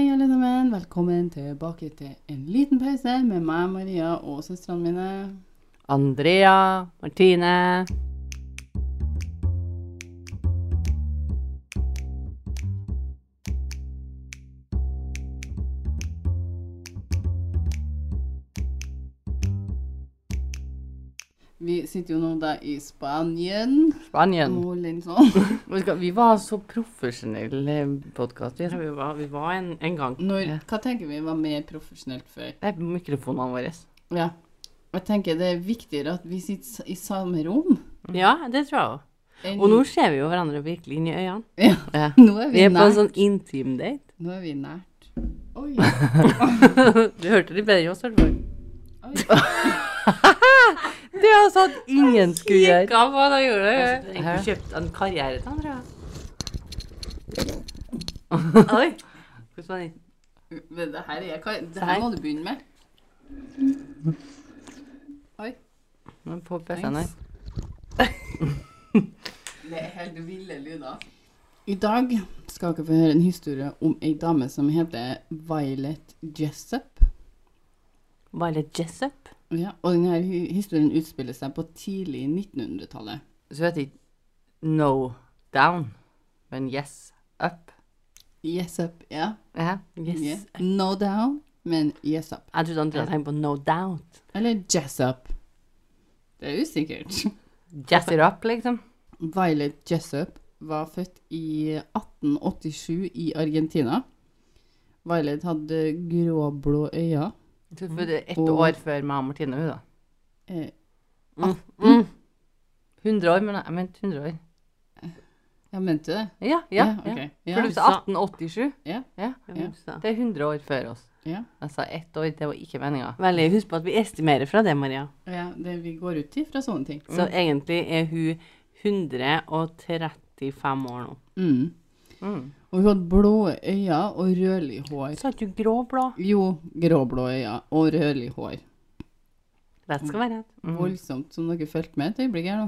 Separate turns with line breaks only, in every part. sammen. Velkommen tilbake til en liten pause med meg, Maria og søstrene mine.
Andrea, Martine.
Vi sitter jo nå da i Spanien.
Spanien.
Og litt sånn.
Vet du hva, Vi var så profesjonell podkast. Vi, vi var, vi var en, en gang.
Når, hva tenker vi var mer profesjonelt før?
Det er mikrofonene våre.
Ja. Jeg tenker det er viktigere at vi sitter s- i samme rom.
Mm. Ja, det tror jeg òg.
enn-
Og nå ser vi jo hverandre virkelig inn i øynene.
Ja.
Mm. Ja.
Nå er
Vi
vi
er på en
nært.
sånn intim date.
Nå er vi nært. Oi.
Du hørte det bedre enn oss, i hvert fall.
Oi.
Det er altså at ingen skulle gjøre. Altså,
Hva var det jeg gjorde?
Har du kjøpt en karriere til Andrea? Oi. Hvordan var den?
Men det her, er, hva- det her må du begynne med. Oi.
Nå er På PC-en her.
Det er helt ville lyder. I dag skal dere få høre en historie om ei dame som heter Violet Jessup.
Violet Jessup.
Ja, og denne hy- historien utspiller seg på tidlig 1900-tallet.
Så heter ikke No Down, men Yes Up.
Jessup, ja.
Ja, yes.
Yeah. No down, men Jessup.
Jeg trodde Andrea tenkte på No Doubt.
Eller Jessup. Det er usikkert.
Jazz it up, liksom.
Violet Jessup var født i 1887 i Argentina. Violet hadde gråblå øyne.
Jeg
Mm.
tror det er ett
Og-
år før meg og Martine, hun da.
Eh,
100 år, men jeg mente 100 år.
jeg mente det.
Ja, ja. ja,
ok.
For du sa 1887.
Ja.
ja.
Ja.
Det er 100 år før oss.
Ja.
Jeg sa ett år, det var ikke meninga. Veldig, Husk på at vi estimerer fra det, Maria.
Ja, det vi går ut ifra sånne ting.
Så egentlig er hun 135 år nå.
Mm.
Mm.
Og hun hadde blå øyne og rødlig hår.
Så er du gråblå.
Jo, gråblå øyne og rødlig hår.
Det skal være rett.
Voldsomt, som dere fulgte med et øyeblikk her nå.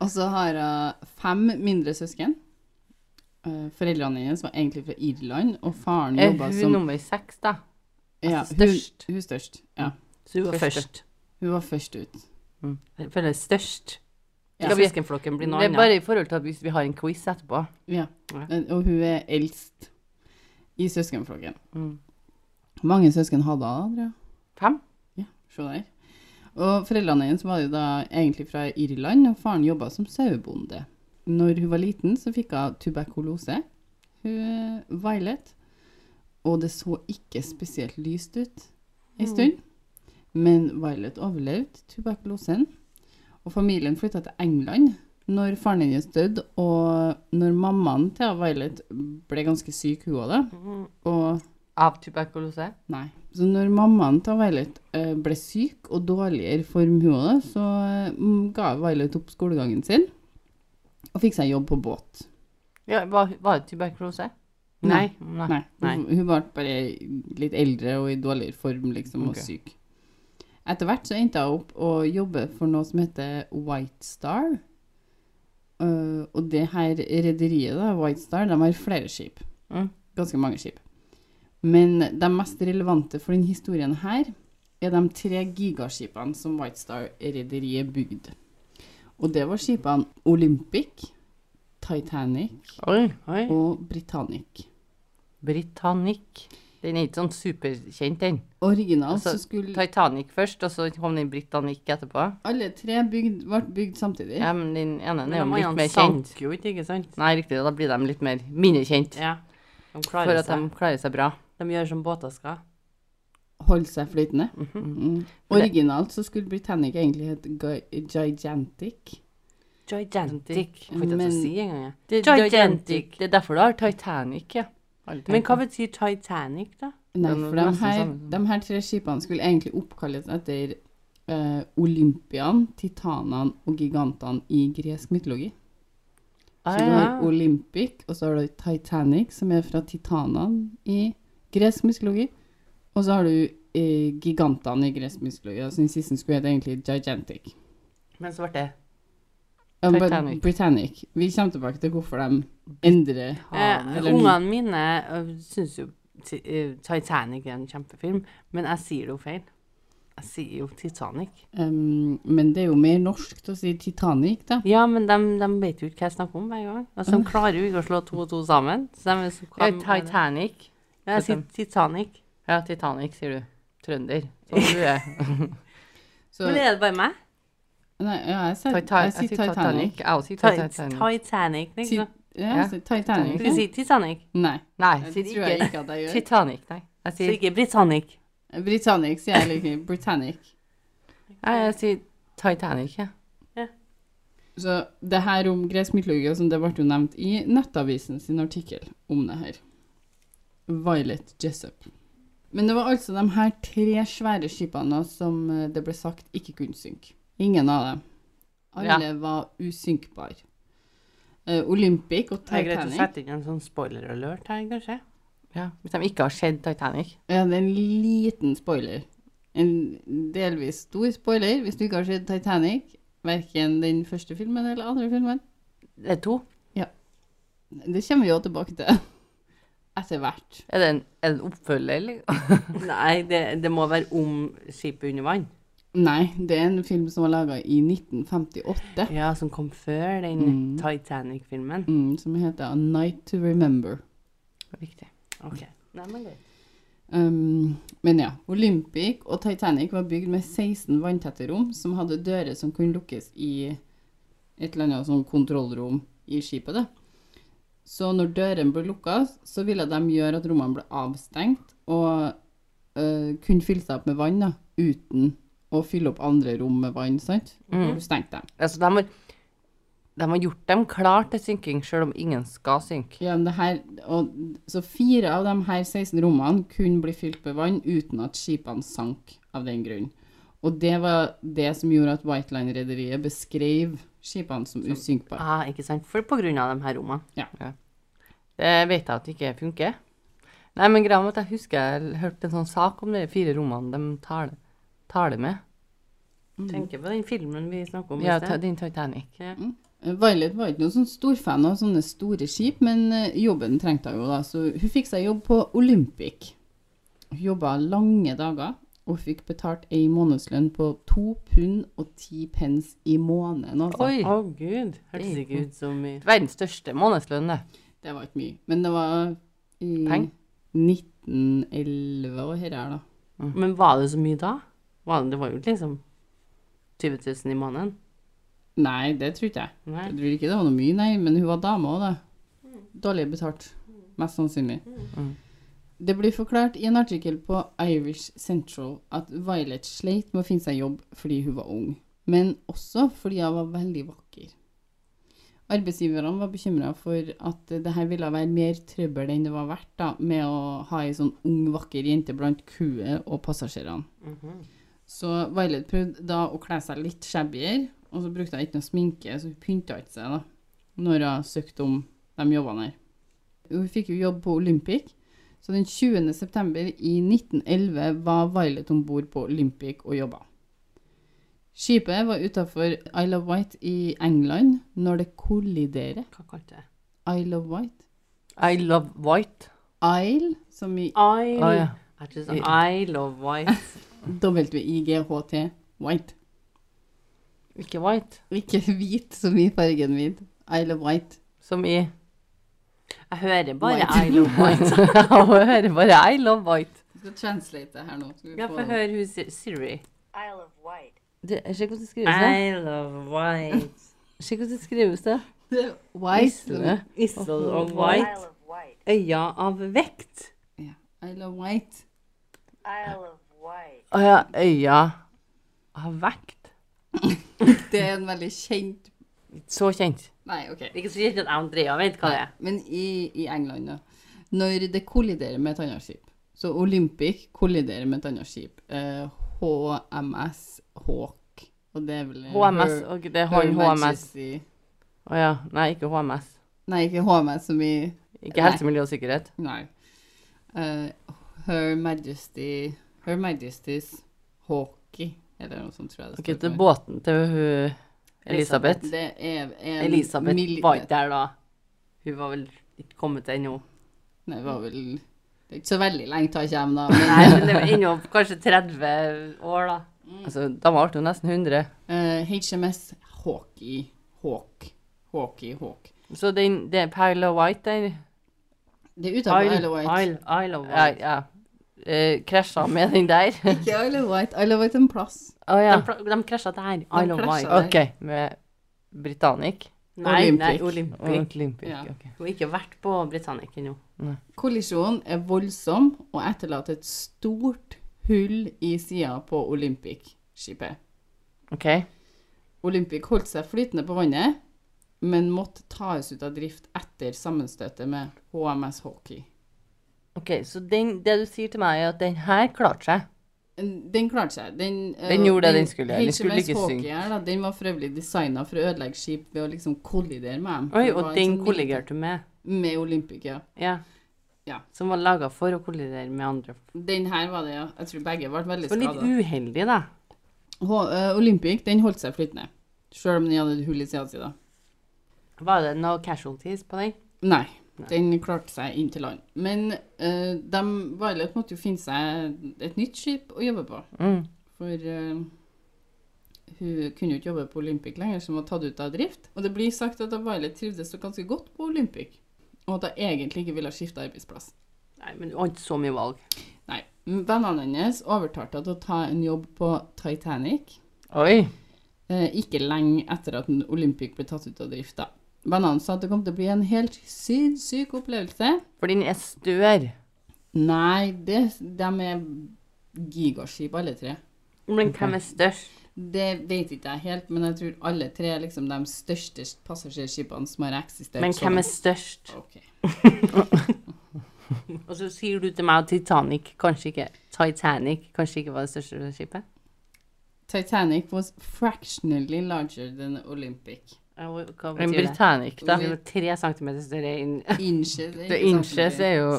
og så har hun fem mindre søsken. Eh, Foreldrene hennes var egentlig fra Irland, og faren
Er
jobba
Eh, hun
som
nummer seks, da?
ja,
altså
hun,
størst?
hun størst. Ja,
Så hun var
Første.
først.
hun var først ut.
Jeg føler størst.
Ja.
Skal Søskenflokken blir noe
Det er
annet. Bare i forhold til at hvis vi har en quiz etterpå.
Ja.
Ja.
Eh, Og hun er eldst i søskenflokken.
Mm.
Hvor mange søsken hadde hun, Andrea?
Fem?
Ja, se der. Og foreldrene hennes var jo da egentlig fra Irland, og faren jobba som sauebonde. Når hun var liten, så fikk hun tuberkulose. Hun eh, Violet. Og det så ikke spesielt lyst ut
Mm.
en stund. Men Violet overlevde tuberkulosen. Og familien flytta til England når faren hennes døde, og når mammaen til Violet ble ganske syk, hun òg, da. Og
Av tuberkulose?
Nei. Så når mammaen til Violet eh, ble syk og dårligere form hun også, så eh, mm, ga Violet opp skolegangen sin og fikk seg jobb på båt.
Ja, var, var det tuberkulose?
Nei.
Nei.
Nei, Hun, hun ble bare litt eldre og i dårligere form liksom, og
Ok.
syk. Etter hvert så endte hun opp å jobbe for noe som heter White Star. Eh, og det her rederiet, da, White Star, de har flere skip.
Mm.
Ganske mange skip. Men de mest relevante for denne historien her, er de tre gigaskipene som White Star-rederiet bygde. Og det var skipene Olympic, Titanic
Oi, oi.
og Britannic.
Britannic. Den er ikke sånn superkjent, den.
Originalt
Altså,
så skulle
Titanic først, og så kom den Britannic etterpå.
alle tre bygd, ble bygd samtidig.
Ja, men den ene
Men
er jo
de
litt
andre
mer
sank
kjent.
jo ikke, ikke sant?
Nei, riktig, da blir de litt mer mindre kjent.
Ja. De
For
klarer
at de
seg.
klarer seg bra.
De gjør som båter skal.
Holdt seg flytende.
Mhm.
Mm.
det-
Originalt så skulle Britannic egentlig hete Gi- Gigantic.
Gigantic.
Gigantic.
Jeg får ikke til
Men-
å si engang. jeg.
Det,
Gigantic.
Det er derfor du har Titanic, ja.
Men hva betyr Titanic, da?
Nei,
Det er noe
for de
nesten
her,
samme.
de her tre skipene skulle egentlig oppkalles etter uh, Olympian, titanene og gigantene i gresk mytologi. Så
Ah,
du har Olympic, og så har du Titanic, som er fra titanene i gresk mytologi. Og så har du eh, gigantene i gresk mytologi. Altså den siste skulle hete egentlig Gigantic.
Men så ble det
Ja, men
Titanic.
Britannic. Vi kommer tilbake til hvorfor de endrer
Eh,
eller-
Ungene mine ø, eh, syns jo ti- eh, Titanic er en kjempefilm, men jeg sier det jo feil. Jeg sier jo Titanic.
Um, men det er jo mer norsk til å si Titanic, da.
Ja, men de, vet jo ikke hva jeg snakker om hver gang. Altså, De klarer jo ikke å slå to og to sammen. Så de, er så,
Ah. Ja, Titanic.
Ja, jeg sier Titanic.
Ja, Titanic, sier du. Trønder. Sånn du er.
Så,
Men er det bare meg?
nei, ja, jeg, sier,
Titan
jeg sier Titanic.
Jeg også sier
Ti-
Titanic.
Titanic,
Ti-
liksom.
ja,
Ja.
jeg sier Titanic.
Skal vi si Titanic?
Nei,
Nei,
det
sier
tror jeg
ikke
ikke at jeg gjør.
Titanic, nei. Jeg
Så
sier,
ikke Britannic.
Britannic sier jeg like Britannic.
nei, jeg sier Titanic, ja.
Så det her om gresk mytologi, og som det ble jo nevnt i Nettavisen sin artikkel om det her. Violet Jessup. Men det var altså de her tre svære skipene som eh, det ble sagt ikke kunne synke. Ingen av dem. Alle var usynkbare. Eh, Olympic og
Det er greit å
Titanic
sette inn en sånn spoiler alert her, kanskje.
ja. Hvis de ikke har sett Titanic.
Ja, det er en liten spoiler. En delvis stor spoiler hvis du ikke har sett Titanic. Verken den første filmen eller andre filmen.
Det er to.
Det kommer vi jo tilbake til etter hvert.
Er det en, er det en oppfølger, eller?
Nei, det, det må være om skipet under vann.
Nei, det er en film som var laga i 1958,
Ja, som kom før den
Mm.
Titanic-filmen.
mm, som heter A Night to Remember.
Viktig.
Ok. Nei, men det.
Um, men ja, Olympic og Titanic var bygd med 16 vanntette rom som hadde dører som kunne lukkes i et eller annet sånn kontrollrom i skipet. Da. Så når dørene ble lukka, så ville de gjøre at rommene ble avstengt og øh, kunne fylle seg opp med vann da, uten å fylle opp andre rom med vann. sant?
Mm.
Du stengte dem.
Altså, de har, de har gjort dem klar til synking, selv om ingen skal synke.
Ja, men det her, og, så fire av de her 16 rommene kunne bli fylt med vann uten at skipene sank av den grunn. Og det var det som gjorde at White Line-rederiet beskrev skipene som usynkbare.
Ah, ikke sant? For på grunn av de her rommene.
Det vet jeg at det ikke funker. Nei, men greia med at jeg husker jeg hørte en sånn sak om de fire rommene de taler, taler med.
Tenker på den filmen vi snakker om i
Ja,
sted.
ta- din Titanic.
Eh, Violet var ikke noen sånn stor fan av sånne store skip, men eh, jobben trengte hun jo da, så hun fikk seg jobb på Olympic. Hun jobba lange dager og fikk betalt ei månedslønn på to pund og ti pence i måneden. Altså.
Oi!
Å gud, hørtes ikke ut som i
Verdens største månedslønn, det.
Det var ikke mye, men det var i
Peng?
1911 og her er da.
Men var det så mye da? Var det, det var jo ikke liksom 20 000 i måneden.
Nei, det tror ikke jeg.
Nei.
Jeg tror ikke det var noe mye, nei, men hun var dame òg, da. Dårlig betalt, mest sannsynlig.
Mm.
Det blir forklart i en artikkel på Irish Central at Violet sleit med å finne seg jobb fordi hun var ung, men også fordi hun var veldig vakker. Arbeidsgiverne var bekymra for at det her ville være mer trøbbel enn det var verdt da, med å ha ei sånn ung, vakker jente blant crewet og passasjerene. Så Violet prøvde da å kle seg litt shabbyere, og så brukte hun ikke noe sminke, så hun pynta ikke seg da, når hun søkte om de jobbene her. Hun fikk jo jobb på Olympic, så den 20. september i 1911 var Violet om bord på Olympic og jobba. Skipet var utafor Isle of Wight i England når det kolliderer.
Hva kalte jeg det?
Isle of Wight.
I love white.
Isle, som i
I,
Å, ja.
Jeg tror sånn, I love white.
W-I-G-H-T, white.
Ikke white.
Ikke hvit, som i fargen hvit. Isle of Wight.
Som i
Jeg hører bare
White.
I love white.
Jeg hører bare I love white.
Jeg skal translate det her nå. Skal vi
Ja,
få
få
det?
høre hun sier Siri.
Det, se hvordan det skrives, det.
I love white.
Se hvordan det skrives, det.
Det er White.
Isle.
Isle of white. Øya av vekt.
Ja. Isle of White.
Å ja, øya har vekt.
Det er en veldig kjent
Så kjent.
Nei, OK.
Ikke så kjent at jeg og Andrea vet hva det er.
Men i, i England, da. Når det kolliderer med et annet skip Så Olympic kolliderer med et annet skip. Eh, HMS Hawk. Og det er vel
HMS.
Eh,
Og det er han
Her
HMS.
Majesty-
Å ja. Nei, ikke HMS.
Nei, ikke HMS som i
Ikke
Nei.
helse, miljø og sikkerhet.
Nei. Eh, Her Majesty Her Majesty's Hawkey, eller noe sånt, tror jeg det
Ok,
står
til
for.
båten til hun Elisabeth.
Det er en
Elisabeth
mil-
var ikke der da. Hun var vel ikke kommet ennå.
Nei, det var vel Det er ikke så veldig lenge til jeg kommer, da.
Nei,
Men,
men det er ennå kanskje 30 år, da.
Altså, de ble jo nesten 100.
eh, HMS Hockey Hawk. Hockey Hawk.
Så den, det er Pile of White der
Det er utenfor
Isle-
Isle of Wight.
Isle- Isle of
ja,
Wight.
ja. Eh, krasja med den der.
Ikke Isle of Wight. Isle of Wight er en plass.
Å ja.
De, pla- de krasja der. Isle of
krasja
Wight.
der.
OK. Med Britannic.
Nei, nei,
Olympic.
Olympic.
Olympic.
Ja.
ok.
Hun har ikke vært på Britannic ennå.
Kollisjonen er voldsom og etterlater et stort hull i sida på Olympic-skipet.
OK.
Olympic holdt seg flytende på vannet, men måtte tas ut av drift etter sammenstøtet med HMS Hockey.
Ok, Så den, det du sier til meg, er at den her klarte seg.
Den klarte seg. Den, eh,
Den gjorde det den skulle. Den
HMS
skulle ikke
Hockey
synke.
her, da, den var for øvrig designa for å ødelegge skip ved å liksom kollidere med dem.
Oi,
Det var en
og den
sånn
kolligerte med.
liten- Med Olympic, ja.
Ja.
Ja.
Som var laga for å kollidere med andre.
Den her var det, ja. Jeg tror begge ble veldig
Det var litt
skada.
uheldig, da.
Olympic den holdt seg flytende, sjøl om den hadde et hull i sida si. da.
Var det noe casualties på den?
Nei,
Nei.
den klarte seg inn til land. Men eh, de Violet måtte jo finne seg et nytt skip å jobbe på.
Mm.
For eh, hun kunne jo ikke jobbe på Olympic lenger, som var tatt ut av drift. Og det blir sagt at da Violet trivdes så ganske godt på Olympic, og at hun egentlig ikke ville skifte arbeidsplass.
Nei, men du har ikke så mye valg.
Nei. Vennene hennes overtalte henne til å ta en jobb på Titanic.
Oi.
Eh, ikke lenge etter at en Olympic ble tatt ut av drift, da. Vennene sa at det kom til å bli en helt sinnssyk opplevelse.
For den er større.
Nei, det, de er gigaskip, alle tre.
Men hvem er størst?
Det vet ikke jeg helt, men jeg tror alle tre er liksom de største passasjerskipene som har eksistert.
Men hvem er størst?
Ok.
Og så sier du til meg at Titanic kanskje ikke Titanic kanskje ikke var det største skipet?
Titanic was fractionally larger than Olympic.
Ja, hva- Hva
En
betyr det?
Britannic, da.
Det var tre centimeter større enn
Inches, er
The
ikke
inches
centimeter,
er jo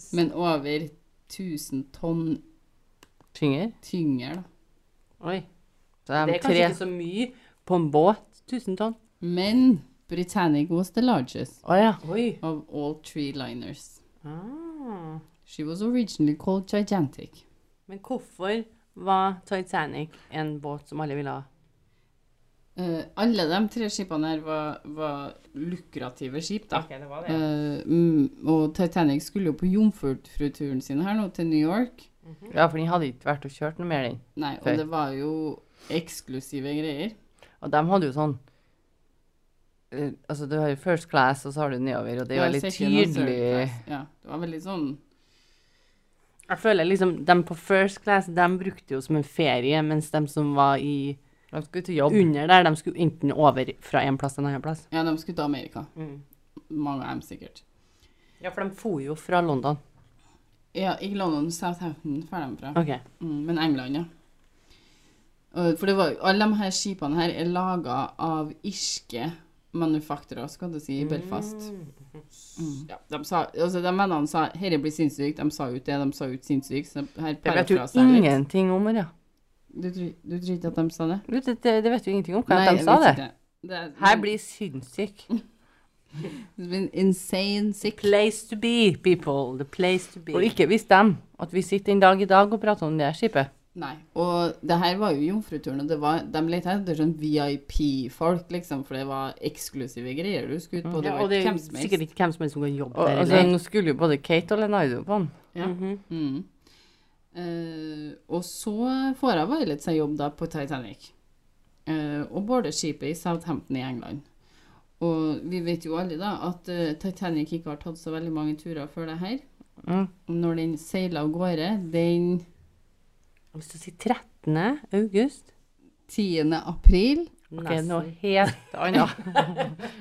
Så
Men over 1000 tonn
tyngre.
tyngre, da.
Oi.
Så de
Det er kanskje
tre-
ikke så mye på en båt. 1000 tonn.
Men Britannic was the largest
Å ja.
Oi.
of all three liners.
Ah.
She was originally called Gigantic.
Men hvorfor var Titanic en båt som alle ville ha?
Eh, alle de tre skipene her var, var lukrative skip, da.
det var
Eh, mm, og Titanic skulle jo på jomfruturen sin her nå, til New York.
ja, for den hadde ikke vært og kjørt noe mer, den.
Nei, og
Før.
det var jo eksklusive greier.
Og de hadde jo sånn eh, Altså, du har jo first class, og så har du nedover, og det er jo
var
veldig
second og third
tydelig
class. Ja, det var veldig sånn
Jeg føler liksom de på first class, de brukte jo som en ferie, mens de som var i
De skulle til jobb.
under der, de skulle enten over fra en plass til en annen plass.
Ja, de skulle til Amerika.
Mm.
Mange av dem sikkert.
Ja, for de for jo fra London.
Ja, ikke London, Southampton drar de fra.
OK.
Mm, men England, ja. Og- For det var, alle de her skipene her er laga av irske manufaktorer, skal du si, i Belfast.
Mm.
Mm. Ja, de, sa, altså, de vennene sa 'herre blir sinnssykt', de sa ut det, de sa ut sinnssykt. Så her
Det vet jo
parafraser jeg litt.
ingenting om det. ja.
Du, tror- du tror ikke at de sa det?
Du, Det, det, det vet jo ingenting om hva
jeg
de sa,
vet
det.
ikke. det er,
Her blir sinnssyk.
It's been insane sick.
Place to be, people. The place to be.
Og ikke visst dem at vi sitter en dag i dag og prater om det skipet.
Nei. Og det her var jo jomfruturen, og det var, de lette etter sånn VIP-folk, liksom, for det var eksklusive greier du skulle ut
Mm.
på. Det
ja,
var
og det er
hvem
jo
som helst.
sikkert ikke hvem som helst som kan jobbe
Og,
der.
altså,
eller?
nå skulle jo både Kate og Lenaido på den.
Ja.
Mhm.
Mm. Eh, og så får jeg Violet seg jobb da på Titanic. Eh, og border skipet i Southampton i England. Og vi vet jo alle da at eh, Titanic ikke har tatt så veldig mange turer før det her.
Mm.
Når den seiler av gårde den
Hvis du sier 13. august
10. april
Ok, noe helt annet.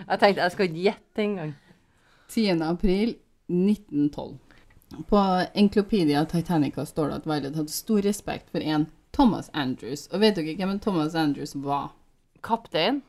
jeg tenkte jeg skal ikke gjette engang.
10. april 1912. På Enklopedia Titanica står det at Violet hadde stor respekt for en Thomas Andrews. Og vet dere hvem en Thomas Andrews var?
Kaptein?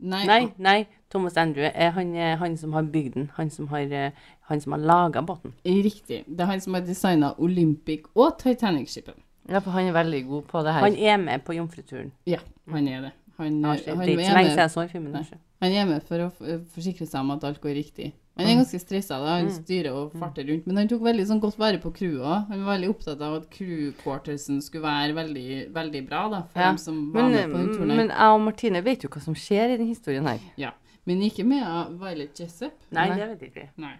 Nei, nei. Thomas Andrew er han, eh, han som har bygd den. Han som har, eh, han som har laga båten.
Riktig. Det er han som har designa Olympic og Titanic-skipet.
Ja, for han er veldig god på det her.
Han er med på jomfruturen.
Ja, han er det. Han,
Ah, Det
han, er
er ikke så lenge siden
med,
jeg så filmen.
Nei. han er med for å f- forsikre seg om at alt går riktig. Han
Mm.
er ganske stressa. da, Han styrer og farter rundt. Men han tok veldig sånn godt vare på crewet. Han var veldig opptatt av at crewquartersen skulle være veldig, veldig bra da, for
Ja,
dem som var
Men,
med på den
mm,
turen. her.
men jeg og Martine vet jo hva som skjer i den historien her.
ja. men ikke med av Violet Jessep.
Nei,
Nei.
det vet jeg ikke.
Nei.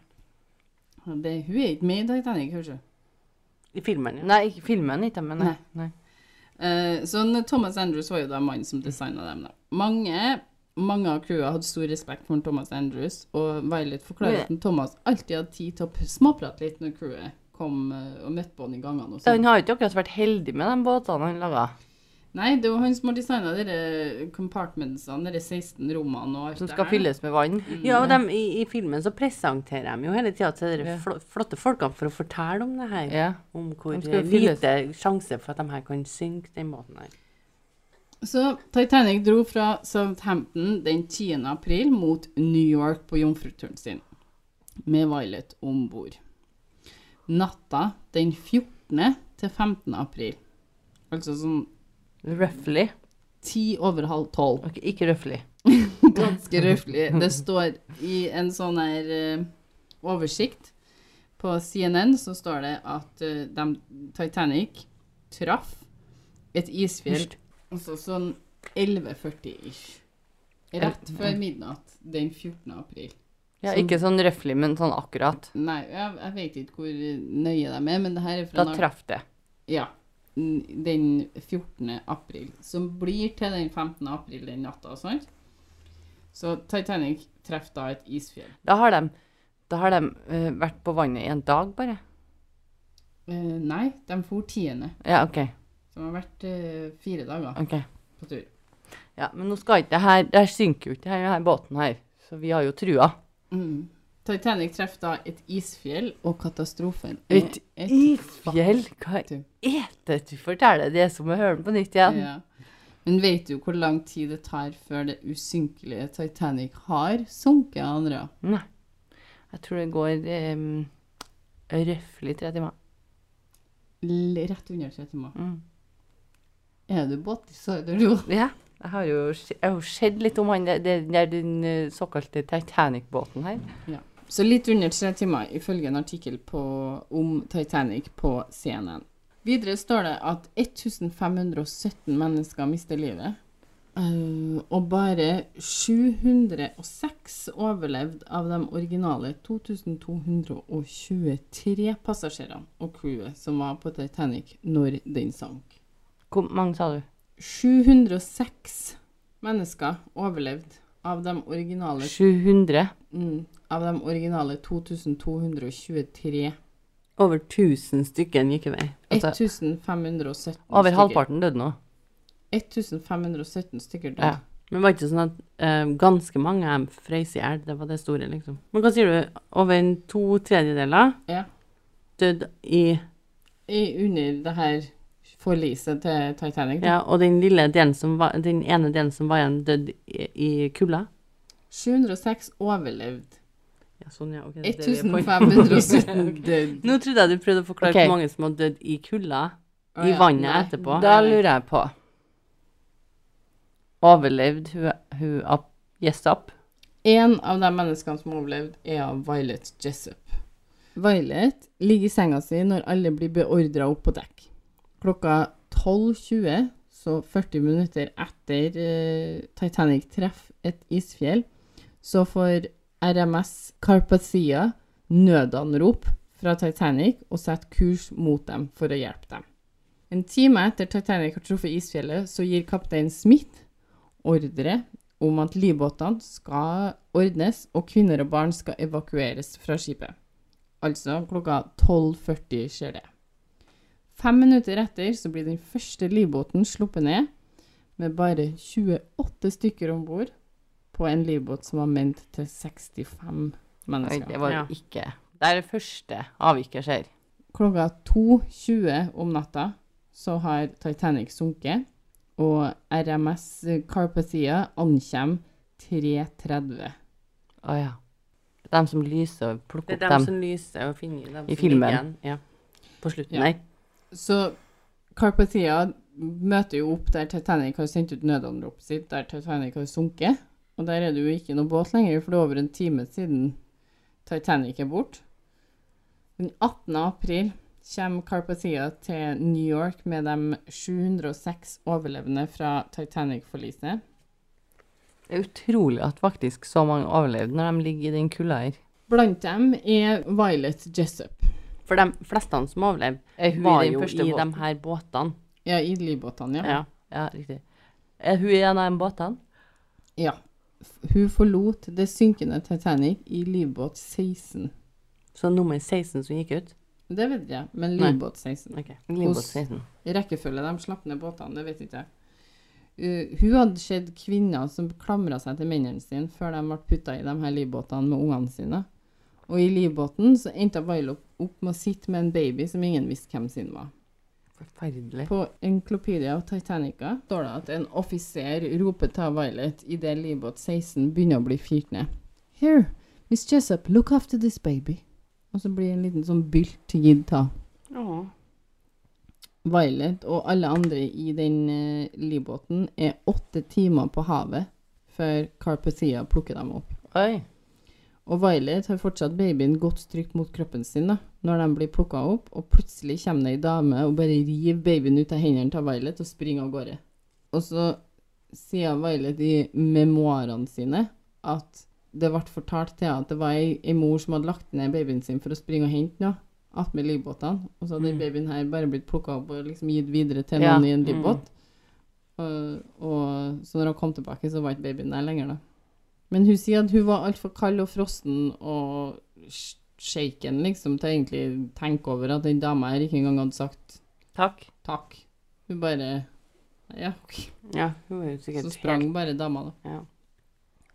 Det, hun er ikke med i Titanic, kanskje.
I filmen, ja.
Nei, ikke filmen ikke, men nei. nei.
Eh, så n- Thomas Andrews var jo da mannen som designa dem. da. Mange, mange av crewet hadde stor respekt for Thomas Andrews, og Violet forklarer at Thomas alltid hadde tid til å p- småprate litt når crewet kom eh, og møtte på han i gangene. og
Så
sånn.
han har jo ikke akkurat vært heldig med de båtene han laga,
Nei, det var han som har designa disse compartmentsene, disse 16 rommene og alt
som
det
skal
her.
fylles med vann.
Ja, og dem, i, i filmen så presenterer de jo hele tida til de
Ja.
fl flotte folkene for å fortelle om det her.
Ja.
Om hvor
De skal
eh,
fylles.
lite sjanse for at de her kan synke den båten her.
Så Titanic dro fra Southampton den 10. april mot New York på jomfruturen sin, med Violet om bord. Natta den 14. til 15. april, altså sånn
Røffelig.
ti over halv tolv,
Ok, ikke røffelig.
ganske røftlig, det står i en sånn her eh, oversikt på CNN, så står det at eh, dem- Titanic traff et isfjell Altså sånn 11.40-ish. Rett før midnatt den 14. april.
Ja,
Sånn-
ikke sånn røffelig, men sånn akkurat.
Nei, jeg, jeg vet ikke hvor nøye de er, men det her er fra
Da traff det.
Ja. n- Den 14. april. Som blir til den 15. april den natta, sant? Så Titanic treffer da et isfjell.
Da har de, da har de eh, vært på vannet i en dag, bare.
Eh, nei, de for tiende.
Ja, OK.
Så de har vært eh, fire dager
ok.
på tur.
Ja, Men nå skal ikke det her Der synker jo ikke denne her båten her. Så vi har jo trua.
Mm. Titanic treffer da et isfjell, og katastrofen er
Et isfjell? Hva
faktum.
er det du forteller? Det er som å høre den på nytt igjen.
Ja. Men vet du hvor lang tid det tar før det usynkelige Titanic har sunket, Andrea?
Nei. Jeg tror det går um, røffelig tre timer.
L rett under 30 timer.
Mm.
Er du båtdesigner, du?
Ja. Jeg har jo se- jeg har jo sett litt om han der, der, der den eh, såkalte Titanic-båten her.
Så litt under tre timer, ifølge en artikkel på, om Titanic på CNN. Videre står det at 1517 mennesker mister livet. eh, og bare 706 overlevde av de originale 2223 passasjerene og crewet som var på Titanic når den sank.
Hvor mange sa du?
706 mennesker overlevde av de originale
700?
Mm, av de originale 2223.
Over 1000 stykken gikk i vei.
Altså-
1517
Over
stykker.
halvparten døde nå.
1517 stykker døde.
Ja.
Men var det ikke sånn at eh, ganske mange av dem frøs i hjel? Det var det store, liksom. Men hva sier du? Over en to tredjedeler
Ja.
døde i
I, under det her forliset til Titanic. da.
Ja, og den lille delen som var Den ene delen som var igjen, døde i, i kulda?
706 overlevde.
Ja, sånn, ja. ok, det er det vi er på.
1517 døde.
Nå trodde jeg du prøvde å forklare
Ok.
hvor mange som hadde dødd i kulda,
Å,
i
ja,
vannet
nei.
etterpå.
Da lurer jeg på Overlevde hun, hun up, yes up?
En av de menneskene som overlevde, er av Violet Jessup. Violet ligger i senga si når alle blir beordra opp på dekk. Klokka 12.20, så 40 minutter etter eh, Titanic treffer et isfjell, så får RMS Carpathia nødanrop fra Titanic og setter kurs mot dem for å hjelpe dem. En time etter Titanic har truffet isfjellet, så gir kaptein Smith ordre om at livbåtene skal ordnes, og kvinner og barn skal evakueres fra skipet. Altså klokka 12.40 skjer det. Fem minutter etter så blir den første livbåten sluppet ned, med bare 28 stykker om bord, på en livbåt som var ment til 65
Oi,
mennesker.
det var
Ja.
ikke Det er det første avviket skjer.
Klokka 2.20 om natta så har Titanic sunket, og RMS Carpathia ankommer 3.30.
Å ja. Det er dem som lyser og plukker
Det er
opp
dem
dem.
som lyser og finner dem som
I filmen.
ligger igjen. Ja. På slutten
Ja.
der.
Så Carpathia møter jo opp der Titanic har sendt ut nødanropet sitt, der Titanic har sunket. Og der er det jo ikke noe båt lenger, for det er over en time siden Titanic er borte. Den 18. april kommer Carpathia til New York med de 706 overlevende fra Titanic-forliset.
Det er utrolig at faktisk så mange overlevde når de ligger i den kulda her.
Blant dem er Violet Jessup.
For de fleste som overlevde,
Er hun
var
i den
jo
første
i de
båten?
her båtene.
Ja, i livbåtene, ja.
Ja.
Ja, riktig. Er hun i en av de båtene?
ja. F- Hun forlot det synkende Titanic i livbåt 16.
Så nummer 16 som gikk ut.
Det vet jeg, men
Nei.
livbåt 16.
Ok.
Limbåt
Hos-
16.
I rekkefølge de slapp ned båtene, det vet ikke jeg. Uh, hun hadde sett kvinner som klamra seg til mennene sine før de ble putta i de her livbåtene med ungene sine. Og i livbåten så endte Violet opp, opp med å sitte med en baby som ingen visste hvem sin var.
Forferdelig.
På Enklopedia av Titanica står det at en offiser roper til Violet idet livbåt 16 begynner å bli fyrt ned. Here, Miss Jessup, look after this baby. Og så blir en liten sånn bylt gitt av. Violet og alle andre i den eh, livbåten er åtte timer på havet før Carpathia plukker dem opp.
Oi.
Og Violet har fortsatt babyen godt trygt mot kroppen sin da, når de blir plukka opp, og plutselig kommer det ei dame og bare river babyen ut av hendene til Violet og springer av gårde. Og så sier Violet i memoarene sine at det ble fortalt til henne at det var ei, ei mor som hadde lagt ned babyen sin for å springe og hente noe attmed livbåtene, og så hadde
Mm.
den babyen her bare blitt plukka opp og liksom gitt videre til
Ja,
noen i en
mm.
livbåt. Og, og, så når hun kom tilbake, så var ikke babyen der lenger, da. Men hun sier at hun var altfor kald og frossen og sh- shaken, liksom, til å egentlig tenke over at den dama her ikke engang hadde sagt
Takk.
takk. Hun bare Ja, ok.
Ja, hun var jo sikkert
Så sprang bare dama, da.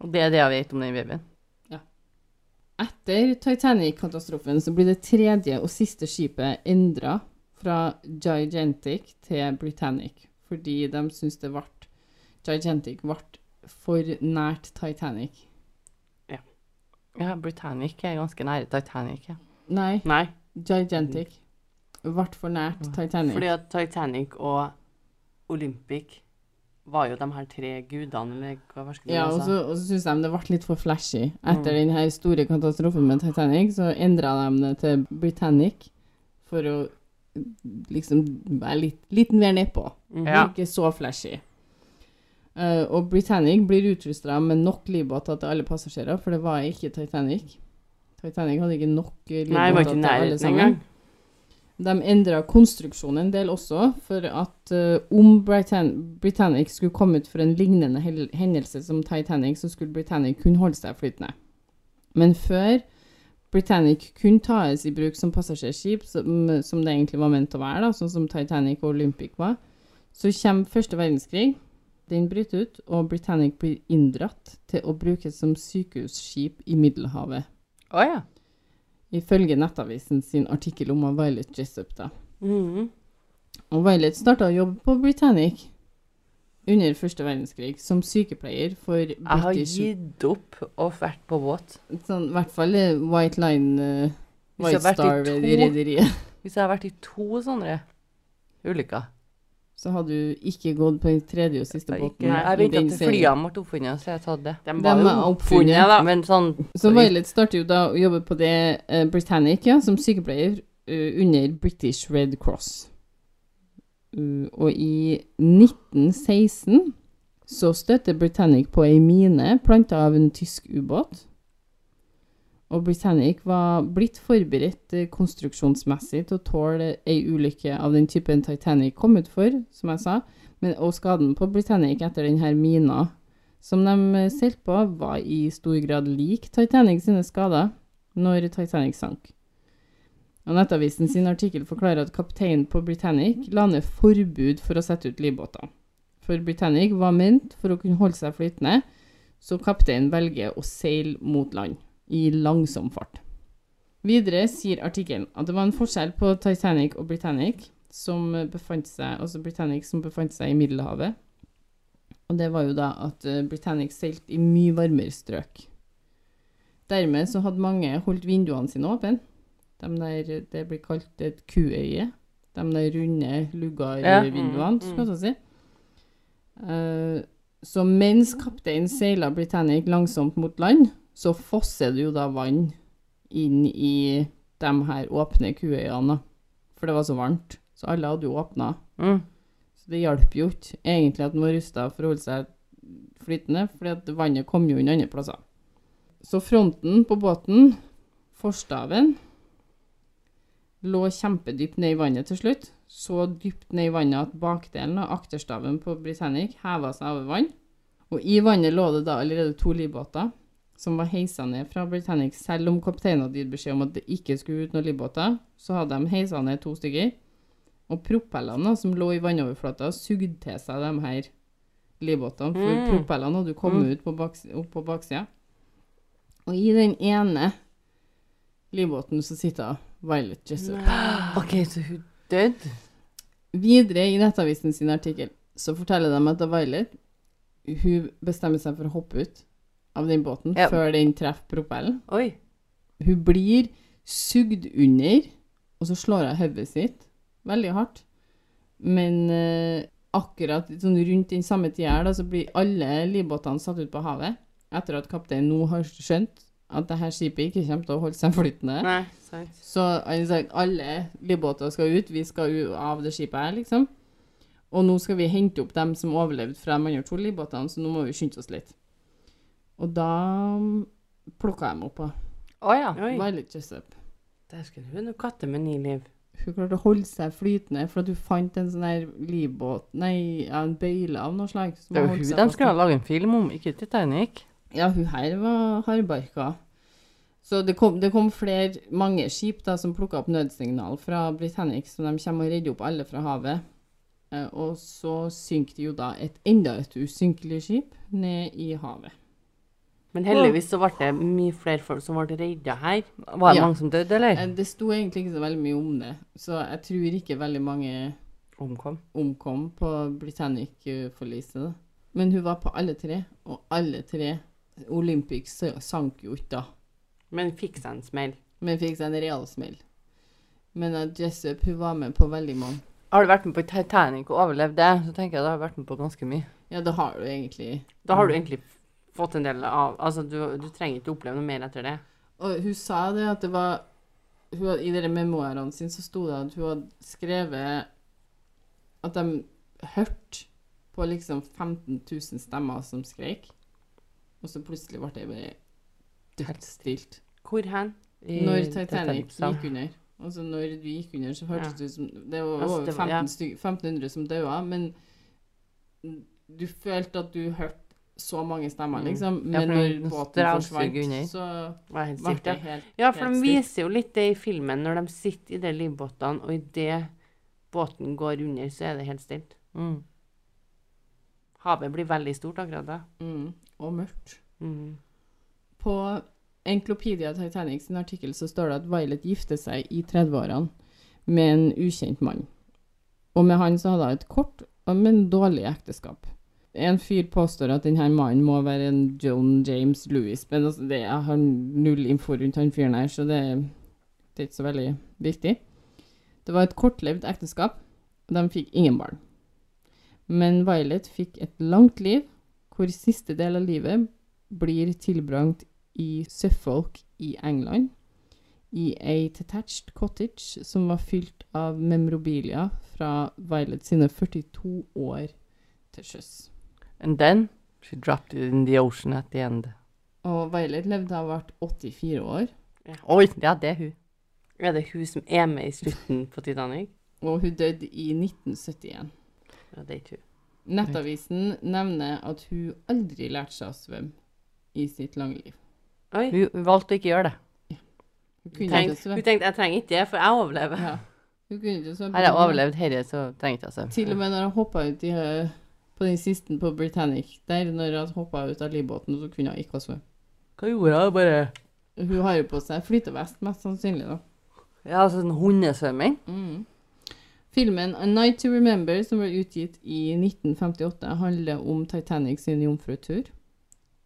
Og det er det jeg vet om den babyen.
Etter Titanic-katastrofen så blir det tredje og siste skipet endra fra Gigantic til Britannic, fordi de syns det ble Gigantic ble for nært Titanic.
Ja, Britannic er ganske nære Titanic. Ja.
Nei,
Nei,
Gigantic ble for nært Titanic.
fordi at Titanic og Olympic var jo de her tre gudene, eller hva var det
Ja, og så, og så syns de det ble litt for flashy. Etter den her store katastrofen med Titanic, så endra de det til Britannic for å liksom være litt, litt mer nedpå.
Mhm.
Ja.
Mhm. Ikke så flashy. Eh, og Britannic blir utrusta med nok livbåter til alle passasjerer, for det var ikke Titanic. Titanic hadde ikke nok eh,
Nei, jeg var
livbåter
ikke i
til alle
nærheten
sammen.
engang.
De endra konstruksjonen en del også, for at eh, om Britan Britannic skulle komme ut for en lignende hel- hendelse som Titanic, så skulle Britannic kunne holde seg flytende. Men før Britannic kunne tas i bruk som passasjerskip, som, som det egentlig var ment å være, da, sånn som Titanic og Olympic var, så kommer første verdenskrig. Den bryter ut, og Britannic blir inndratt til å brukes som sykehusskip i Middelhavet.
Å ja.
Ifølge Nettavisen sin artikkel om Violet Jessup, da.
Mhm.
Og Violet starta å jobbe på Britannic under første verdenskrig som sykepleier for
Jeg har
British
gitt opp og vært på båt.
sånn, I hvert fall eh, White Line eh,
Hvis jeg
White
har vært i
Star
to-
Rederiet.
Hvis jeg har vært i to sånne ulykker
Så hadde du ikke gått på den tredje og siste
Jeg gikk-
båten.
Jeg
i
vet
den
at
serien.
flyene ble oppfunnet, så jeg har tatt det.
De
De
var
er
jo
oppfunnet,
oppfunnet, da.
Men sånn
Så Violet starter jo da å jobbe på det eh, Britannic, ja, som sykepleier eh, under British Red Cross. Uh, og i 1916 så støtter Britannic på ei mine planta av en tysk ubåt. Og Britannic var blitt forberedt eh, konstruksjonsmessig til å tåle ei ulykke av den typen Titanic kom ut for, som jeg sa, men, og skaden på Britannic etter denne mina som de eh, seilte på, var i stor grad lik Titanic sine skader når Titanic sank. Og Nettavisen sin artikkel forklarer at kapteinen på Britannic la ned forbud for å sette ut livbåter. For Britannic var ment for å kunne holde seg flytende, så kapteinen velger å seile mot land i langsom fart. Videre sier artikkelen at det var en forskjell på Titanic og Britannic, som befant seg, altså Britannic som befant seg i Middelhavet, og det var jo da at eh, Britannic seilte i mye varmere strøk. Dermed så hadde mange holdt vinduene sine åpne. De der, eh, det blir kalt et kuøye. De der runde
Ja,
luggarvinduene,
mm,
skal jeg si. Eh, så mens kapteinen seila Britannic langsomt mot land, så fosser det jo da vann inn i de her åpne kuøyene, da. for det var så varmt. Så alle hadde jo åpna.
Mm.
Så det hjalp jo ikke egentlig at den var rusta for å holde seg flytende, fordi at vannet kom jo inn andre plasser. Så fronten på båten, forstaven, lå kjempedypt ned i vannet til slutt. Så dypt ned i vannet at bakdelen av akterstaven på Britannic heva seg over vann. Og i vannet lå det da allerede to livbåter som var heisa ned fra Britannic. Selv om kapteinen hadde gitt beskjed om at det ikke skulle ut noen livbåter, så hadde de heisa ned to stykker. Og propellene da, som lå i vannoverflata, sugde til seg de her livbåtene. For
Mm.
propellene hadde jo kommet ut på baks opp på baksida. Og i den ene livbåten så sitter Violet Jessup.
OK, så hun døde?
Videre i Nettavisen sin artikkel så forteller de at da Violet hun bestemmer seg for å hoppe ut av den båten
Ja.
før den treffer propellen.
Oi.
Hun blir sugd under, og så slår hun hodet sitt veldig hardt. Men eh, akkurat sånn rundt den samme tida her, da, så blir alle livbåtene satt ut på havet etter at kapteinen nå har skjønt at dette skipet ikke kommer til å holde seg flytende.
Nei, sant.
Så han sa alle livbåter skal ut, vi skal ut av det skipet her, liksom. Og nå skal vi hente opp dem som overlevde fra de andre to livbåtene, så nå må vi skynde oss litt. Og da plukka jeg meg opp på
Å ja.
Oi,
Violet Jessup.
dæsken, hun er noe katte med ni liv.
Hun klarte å holde seg flytende, for at hun fant en sånn her livbåt Nei, ja, en bøyle av noe slag. som
Det er jo
holdt
hun
seg
de
fast.
skulle ha laget en film om, ikke Titanic.
Ja, hun her var hardbarka. Så det kom, det kom flere, mange skip da, som plukka opp nødsignal fra Britannic, så de kommer og redder opp alle fra havet. Eh, Og så synker det jo da et enda et usynkelig skip ned i havet.
Men heldigvis så ble det mye flere folk som ble redda her.
Var det
Ja.
mange som døde, eller?
Eh, Det sto egentlig ikke så veldig mye om det, så jeg tror ikke veldig mange
Omkom.
omkom på Britannic-forliset. da. Men hun var på alle tre, og alle tre Olympic s- sank jo ikke da.
Men fikk seg en smell.
Men fikk seg en real smell. Men at Jessup hun var med på veldig mange.
Har du vært med på Titanic og overlevd det, så tenker jeg da har jeg vært med på ganske mye. Mm.
Ja, det har du egentlig.
Da har du egentlig fått en del av Altså, du, du trenger ikke oppleve noe mer etter det.
Og hun sa det at det var hun, had- I dere memoarene sine så sto det at hun hadde skrevet At de hørte på liksom 15 000 stemmer som skreik. Og så plutselig ble det bare dødsstilt.
Hvor hen?
I
Når Titanic
liksom.
Titanic-sang.
gikk under. Altså når du gikk under, så hørtes det ut som Det var
Altså,
over
det var- ja.
15 styk- 1500 som daua, men du følte at du hørte så mange stemmer,
Mm.
liksom.
Ja,
Men
for den- den
når båten
stralsugde
forsvant,
under.
så
Var jeg helt
ble
sikker.
det helt
Ja, for
helt
de
stilt.
viser jo litt det i filmen når de sitter i de livbåtene, og idet båten går under, så er det helt stilt.
Mm.
Havet blir veldig stort akkurat da.
mm, Og mørkt.
Mm.
På Enklopedia Titanic sin artikkel så står det at Violet gifter seg i 30-årene med en ukjent mann. Og med han så hadde hun et kort, men dårlig ekteskap. En fyr påstår at denne mannen må være en John James Lewis, men altså det, jeg har null info rundt han fyren her, så det, det er ikke så veldig viktig. Det var et kortlevd ekteskap, og de fikk ingen barn. Men Violet fikk et langt liv, hvor siste del av livet blir tilbrangt i Suffolk i England, i ei detached cottage som var fylt av memorabilia fra Violet sine 42 år til sjøs.
And then she dropped it in the ocean at the end.
Og Violet levde da hun ble 84 år,
Oi, ja, det er hun.
Er det hun som er med i slutten på Titanic?
og hun døde i 1971.
Ja, det er ikke hun.
Nettavisen nevner at hun aldri lærte seg å svømme i sitt lange liv.
Oi.
Hun, hun valgte å ikke gjøre det.
Hun kunne
Tenk,
ikke
hun
svømme.
tenkte jeg trenger ikke det, for jeg overlever.
Ja. Hun kunne ikke svømme.
Har jeg overlevd dette, så trenger ikke altså. jeg søvn.
Til og med når han hoppa ut i, eh, på den siste på Britannic, der når han hoppa ut av livbåten, så kunne hun ikke svømme.
Hva gjorde jeg? Bare
Hun har jo på seg flytevest, mest sannsynlig, da.
Ja, sånn hundesvømming?
Mm. Filmen 'A Night to Remember', som ble utgitt i 1958, handler om Titanic sin jomfrutur.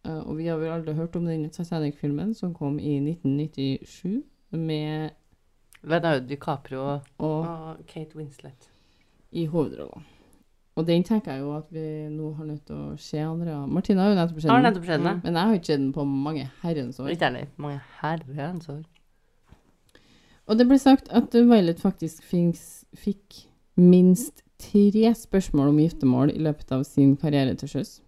Eh, Og vi har vel aldri hørt om denne Titanic-filmen som kom i 1997 med
Leonardo DiCaprio
og
Og Kate Winslet.
i hovedrollene. Og den tenker jeg jo at vi nå har nødt til å se, Andrea. Martina har jo nettopp sett
Har
den.
nettopp skjedd det?
Mm.
Men jeg har ikke sett den på mange herrens år.
Ikke heller. Mange herrens år.
Og det ble sagt at Violet faktisk finks- fikk minst tre spørsmål om giftermål i løpet av sin karriere til sjøs,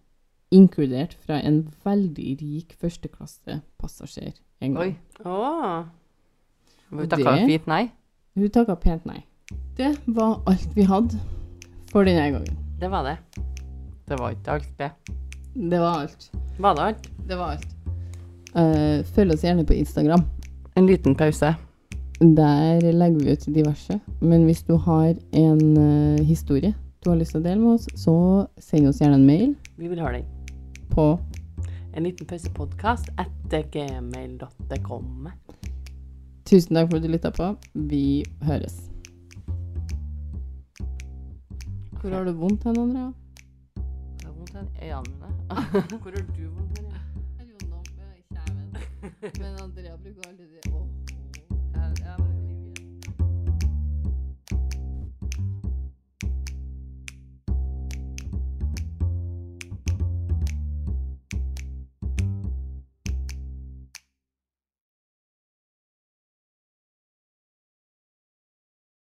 inkludert fra en veldig rik førsteklassepassasjer en gang.
Oi.
Åh.
Hun
Og
takka
det-
fint nei.
Hun takka pent nei. Det var alt vi hadde for denne gangen.
Det var det.
Det var ikke alt, det.
Det var alt.
Var det alt?
Det var alt. Eh, følg oss gjerne på Instagram.
En liten pause.
Der legger vi ut diverse. Men hvis du har en eh, historie du har lyst til å dele med oss, så send oss gjerne en mail
Vi vil høre den.
på
En liten pausepodkast etter gmail.com.
Tusen takk for at du lytta på. Vi høres. Hvor har du vondt hen, Andrea?
Det er vondt i øynene mine.
Hvor har du vondt? Maria?
Jeg har vondt i kjeven. Men Andrea bruker aldri det.